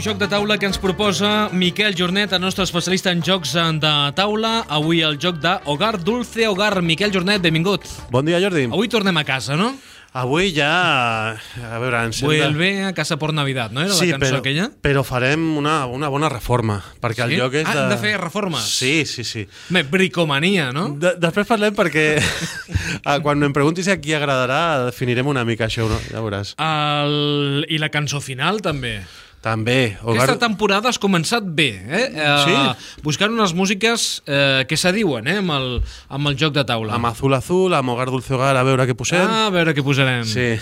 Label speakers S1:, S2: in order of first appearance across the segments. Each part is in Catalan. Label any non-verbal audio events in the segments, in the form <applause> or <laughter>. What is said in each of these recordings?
S1: joc de taula que ens proposa Miquel Jornet, el nostre especialista en jocs de taula. Avui el joc de Hogar Dulce Hogar. Miquel Jornet, benvingut.
S2: Bon dia, Jordi.
S1: Avui tornem a casa, no?
S2: Avui ja... A veure, ens hem de-
S1: Vuelve a casa por Navidad, no? Era
S2: Sí,
S1: la cançó
S2: però,
S1: aquella?
S2: però farem una, una bona reforma,
S1: Sí?
S2: perquè el lloc és
S1: Ah,
S2: de...
S1: hem de fer reformes?
S2: Sí, sí, sí.
S1: Bé, bricomania, no?
S2: De, després parlem perquè <laughs> ah, quan em preguntis a qui agradarà definirem una mica això, no? ja veuràs.
S1: El... I la cançó final, també.
S2: També,
S1: Aquesta
S2: Hogar,
S1: temporada has començat bé, eh? eh
S2: Sí.
S1: Buscant unes músiques eh, que s'adiuen, eh? Amb el, amb el joc de taula.
S2: amb Azul Azul, amb Hogar Dulce Hogar, a veure què posem.
S1: Ah, a veure què posarem.
S2: Mm. Sí,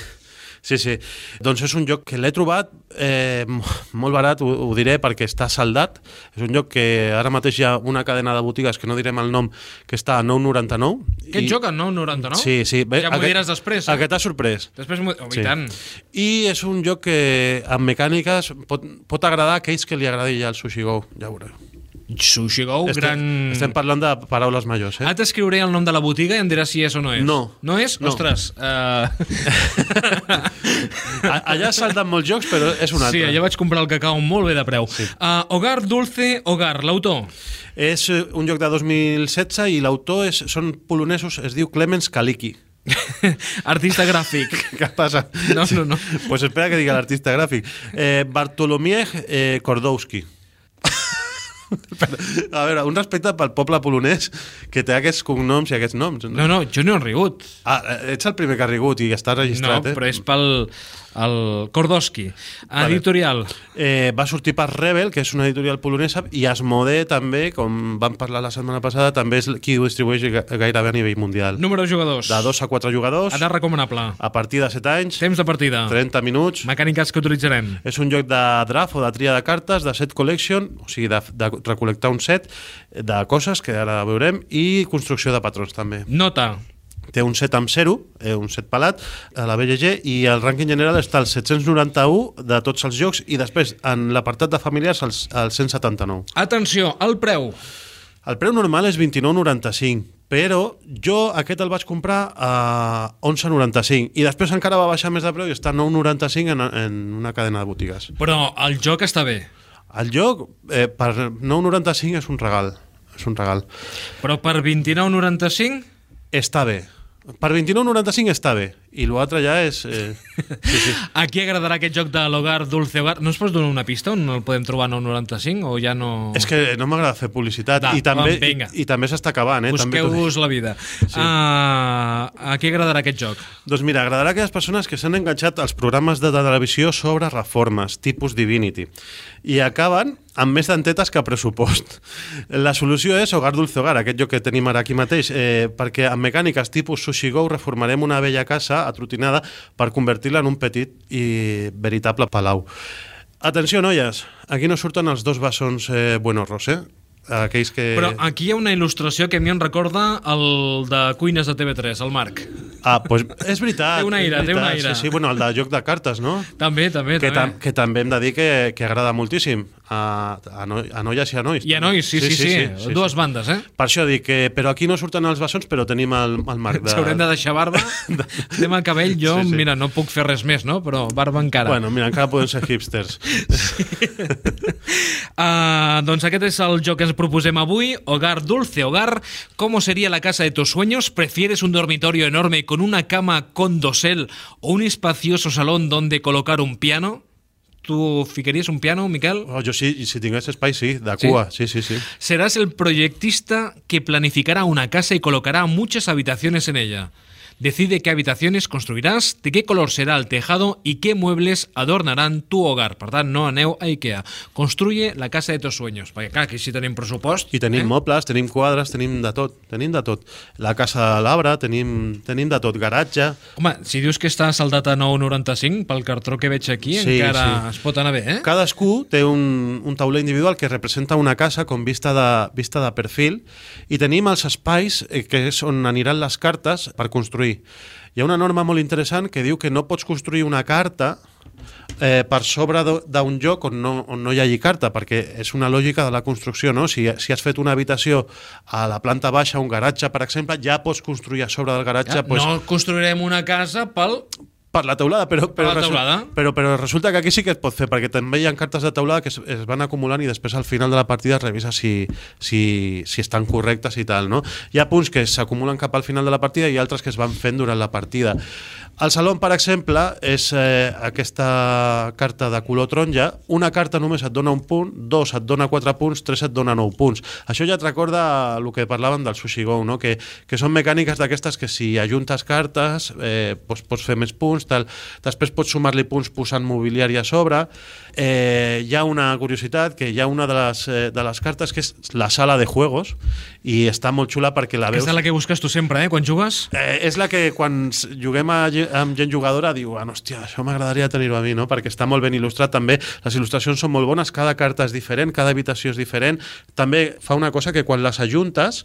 S2: sí, sí. Doncs és un lloc que l'he trobat eh, mo- molt barat, ho, ho diré, perquè està saldat. És un lloc que ara mateix hi ha una cadena de botigues, que no direm el nom, que està a 9,99.
S1: Aquest joc, no? 99?
S2: Sí, sí. Bé,
S1: ja m'ho diràs després. eh?
S2: Aquest t'ha sorprès.
S1: Després m'ho... Oh,
S2: Sí.
S1: I tant.
S2: I és un joc que amb mecàniques pot, pot agradar a aquells que li agradi ja el sushi go, ja ho veureu.
S1: Sushi Go,
S2: Estem,
S1: gran... Ah.
S2: estem parlant de paraules majors, eh?
S1: Ara t'escriuré el nom de la botiga i em diràs si és o no és.
S2: No.
S1: No és?
S2: No.
S1: Ostres. Uh...
S2: A- Allà salten molts jocs, però <laughs> és un
S1: sí,
S2: altre.
S1: allà vaig comprar el cacau molt bé de preu. Sí. Uh, Hogar Dulce Hogar, l'autor. <laughs>
S2: És eh, un joc de 2016 i l'autor és, són polonesos, es diu Clemens Kaliki.
S1: Artista gràfic.
S2: <laughs> Què passa?
S1: No, no, no.
S2: Pues espera que diga l'artista gràfic. Eh, Bartolomiej eh, Kordowski. <laughs> Espera, A veure, un respecte pel poble polonès que té aquests cognoms i aquests noms.
S1: No, no, jo no he rigut.
S2: Ah, eh, ets el primer que ha rigut i està
S1: No,
S2: registrat, eh?
S1: però és pel el Kordowski. Editorial.
S2: Eh, va sortir per Rebel, que és una editorial polonesa, i Asmodee també, com vam parlar la setmana passada, també és qui ho distribueix ga- gairebé a nivell mundial.
S1: Número de jugadors.
S2: De dos a quatre jugadors,
S1: Edat recomanable.
S2: a partir de 7 anys,
S1: Temps de partida.
S2: 30 minuts.
S1: Mecàniques que utilitzarem.
S2: És un lloc de draft o de tria de cartes, de set collection, o sigui, de, de recol·lectar un set de coses, que ara veurem, i construcció de patrons també.
S1: Nota.
S2: Té un set amb 0, eh, un set pelat, a la BGG, i el rànquing general està al 791 de tots els jocs, i després en l'apartat de familiars al, al 179.
S1: Atenció, el preu.
S2: El preu normal és 29,95, però jo aquest el vaig comprar a 11,95 i després encara va baixar més de preu i està a 9,95 en, en una cadena de botigues.
S1: Però el joc està bé.
S2: El lloc, eh, per 9,95 és un regal. És un regal.
S1: Però per 29,95...
S2: Està bé. Per 29,95 està bé. I l'altre ja és... Eh,
S1: <laughs>
S2: sí, sí.
S1: A qui agradarà aquest joc de l'hogar Dulce Hogar? No ens pots donar una pista on el podem trobar a 9,95 o ja no...
S2: És que no m'agrada fer publicitat.
S1: Va,
S2: I també,
S1: va, vinga.
S2: i, i també s'està acabant, eh? També t'ho dic.
S1: Busqueu-vos la vida. Sí. a qui agradarà aquest joc?
S2: Doncs mira, agradarà a aquelles persones que s'han enganxat als programes de televisió sobre reformes, tipus Divinity, i acaben amb més dentetes que pressupost. <laughs> La solució és Hogar Dulce Hogar, aquest lloc que tenim ara aquí mateix, eh, perquè amb mecàniques tipus Sushi Go reformarem una vella casa atrotinada per convertir-la en un petit i veritable palau. Atenció, noies, aquí no surten els dos bessons eh, buenorros, eh? Aquells que...
S1: Però ah, aquí hi ha una il·lustració que a mi em recorda el de Cuines de TV3, el Marc.
S2: Ah, pues,
S1: <laughs>
S2: és veritat.
S1: Té un aire,
S2: és
S1: té un
S2: veritat,
S1: aire.
S2: Sí, sí, bueno, el de joc de cartes, no?
S1: També, també,
S2: que, tam
S1: també.
S2: que també hem de dir que, que agrada moltíssim a, a, no, a noies i a nois.
S1: I a nois, sí, sí, sí, sí, dues bandes, eh?
S2: Per això dic que... Però aquí no surten els bessons, però tenim el,
S1: <laughs>
S2: el marc de...
S1: S'haurem de deixar
S2: <laughs>
S1: barba. Tema cabell, jo,
S2: Sí, sí.
S1: mira, no puc fer res més, no? Però barba encara.
S2: Bueno, mira, encara poden ser hipsters.
S1: Ah, doncs aquest és el joc que ens proposem avui, Hogar Dulce Hogar. ¿Cómo sería la casa de tus sueños? ¿Prefieres un dormitorio enorme con una cama con dosel o un espacioso salón donde colocar un piano? ¿Tú ficarías un piano, Miquel?
S2: Oh, jo sí, si tingués espai, sí, de
S1: Sí?
S2: cua, sí, sí, sí.
S1: Serás el proyectista que planificará una casa y colocará muchas habitaciones en ella. Decide qué habitaciones construirás, de qué color será el tejado y qué muebles adornarán tu hogar. Per tant, no aneu a Ikea. Construye la casa de tus sueños. Perquè, clar, aquí sí tenim pressupost.
S2: I tenim eh? mobles, tenim quadres, tenim de tot, tenim de tot. La casa de l'arbre, tenim, tenim de tot, garatge...
S1: Home, si dius que està saldat a 9,95, pel cartró que veig aquí, sí,
S2: Sí,
S1: encara sí.
S2: sí.
S1: es pot anar bé, eh?
S2: Cadascú té un, un tauler individual que representa una casa com vista de, vista de perfil i tenim els espais eh, que és on aniran les cartes per construir. Hi ha una norma molt interessant que diu que no pots construir una carta eh, per sobre d'o- d'un lloc on no, on no hi hagi carta, perquè és una lògica de la construcció, no? Si, si has fet una habitació a la planta baixa, un garatge, per exemple, ja pots construir a sobre del garatge...
S1: Ja,
S2: doncs,
S1: no construirem una casa pel
S2: per la teulada, però, però,
S1: la
S2: resu-
S1: teulada.
S2: però, però resulta que aquí sí que es pot fer, perquè també hi ha cartes de teulada que es, es van acumulant i després al final de la partida es revisa si, si, si estan correctes i tal. No? Hi ha punts que s'acumulen cap al final de la partida i altres que es van fent durant la partida. El Salon, per exemple, és eh, aquesta carta de color taronja. Una carta només et dona un punt, dos et dona quatre punts, tres et dona nou punts. Això ja et recorda el que parlàvem del Sushi Go, no? que, que són mecàniques d'aquestes que si ajuntes cartes eh, pots, pots fer més punts, tal. després pots sumar-li punts posant mobiliari a sobre. Eh, hi ha una curiositat que hi ha una de les, eh, de les cartes que és la sala de juegos i està molt xula perquè la veus...
S1: Aquesta és la que busques tu sempre, eh, quan jugues.
S2: Eh, és la que quan s- juguem a, ge- amb gent jugadora diu, ah, hòstia, això m'agradaria tenir-ho a mi, no? Perquè està molt ben il·lustrat també, les il·lustracions són molt bones, cada carta és diferent, cada habitació és diferent, també fa una cosa que quan les ajuntes,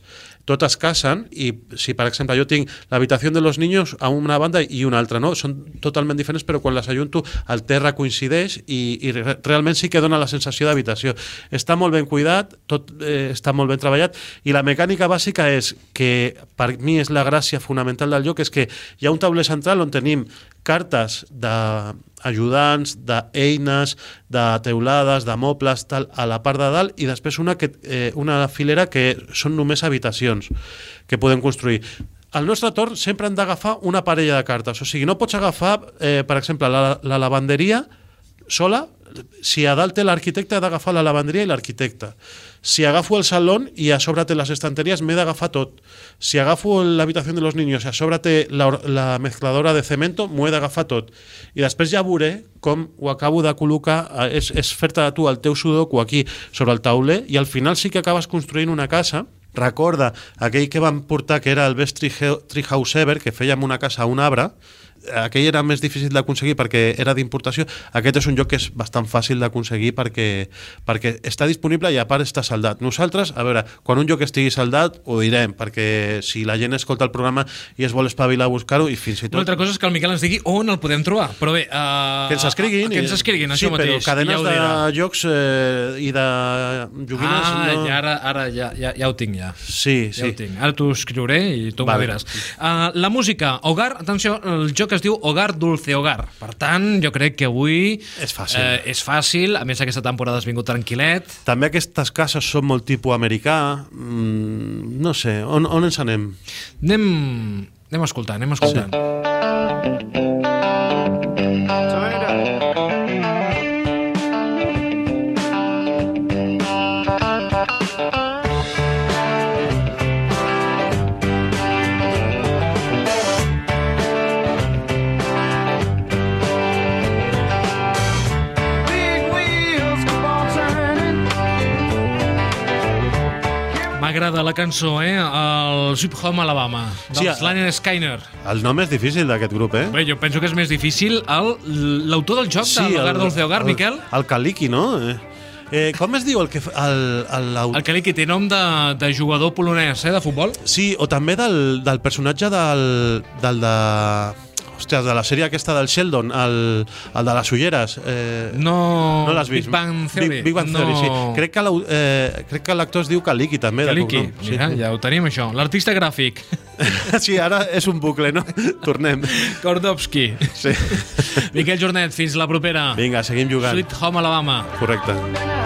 S2: totes casen i si per exemple jo tinc l'habitació de los niños a una banda i una altra, no? Són totalment diferents però quan les ajunto el terra coincideix i, i re- realment sí que dona la sensació d'habitació. Està molt ben cuidat, tot eh, està molt ben treballat i la mecànica bàsica és que per mi és la gràcia fonamental del lloc és que hi ha un tauler central on tenim cartes d'ajudants, d'eines, de teulades, de mobles, tal, a la part de dalt, i després una, que, eh, una filera que són només habitacions que podem construir. Al nostre torn sempre hem d'agafar una parella de cartes, o sigui, no pots agafar, eh, per exemple, la, la lavanderia sola, si a dalt té l'arquitecte he d'agafar la lavanderia i l'arquitecte. Si agafo el salón i a sobre té les estanteries, m'he d'agafar tot. Si agafo l'habitació de los niños i a sobre té la, or- la mezcladora de cemento, m'ho he d'agafar tot. I després ja veuré com ho acabo de col·locar, eh, és, és fer-te tu el teu sudoku aquí sobre el tauler i al final sí que acabes construint una casa recorda aquell que van portar que era el best tree- treehouse ever, que feia amb una casa un arbre, aquell era més difícil d'aconseguir perquè era d'importació, aquest és un lloc que és bastant fàcil d'aconseguir perquè, perquè està disponible i a part està saldat. Nosaltres, a veure, quan un lloc estigui saldat ho direm, perquè si la gent escolta el programa i es vol espavilar a buscar-ho i fins i tot...
S1: Una altra cosa és que el Miquel ens digui on el podem trobar. Però bé... Uh,
S2: que ens escriguin.
S1: Que ens escriguin,
S2: i-
S1: això
S2: sí,
S1: mateix. i
S2: Sí, però
S1: ja
S2: cadenes
S1: ho
S2: de
S1: dirà.
S2: jocs eh, i de joguines...
S1: Ah,
S2: no...
S1: ja, ara, ara ja, ja, ja ho tinc, ja.
S2: Sí,
S1: Ja
S2: sí.
S1: ho tinc. Ara t'ho escriuré i tu
S2: Vale.
S1: m'ho diràs. Uh, la música, Hogar, atenció, el joc es diu Hogar Dulce Hogar. Per tant, jo crec que avui...
S2: És fàcil.
S1: eh, és fàcil, a més aquesta temporada has vingut tranquil·let.
S2: També aquestes cases són molt tipus americà. Mm, no sé, on, on ens anem?
S1: Anem, anem escoltant, anem escoltant.
S2: Oh.
S1: Sí.
S3: Big wheels keep on turning.
S1: M'agrada la cançó, eh? El Sweet Home Alabama,
S2: Sí,
S1: dels
S2: a-
S1: sí, Liner Skyner.
S2: El nom és difícil d'aquest grup, eh?
S1: Bé, jo penso que és més difícil el- l'autor del joc de l'Hogar Dulce Hogar,
S2: el-
S1: Miquel.
S2: El Caliki, no? Eh, eh, com es diu el que... fa- El, el, el,
S1: El Caliqui té nom de, de jugador polonès, eh, de futbol.
S2: Sí, o també del, del personatge del, del de... Hòstia, de la sèrie aquesta del Sheldon, el, el de les ulleres. Eh,
S1: No,
S2: no l'has vist?
S1: Big Bang Theory.
S2: Big, Big Bang
S1: no.
S2: Theory, sí. Crec que l'au- eh, crec que l'actor es diu Kaliki, també. de
S1: Caliqui,
S2: cognom.
S1: mira, ja ho tenim això. L'artista gràfic,
S2: <laughs> Sí. sí, ara és un bucle, no? Tornem.
S1: Kordowski.
S2: Sí.
S1: Miquel Jornet, fins la propera.
S2: Vinga, seguim jugant.
S1: Sweet Home Alabama.
S2: Correcte.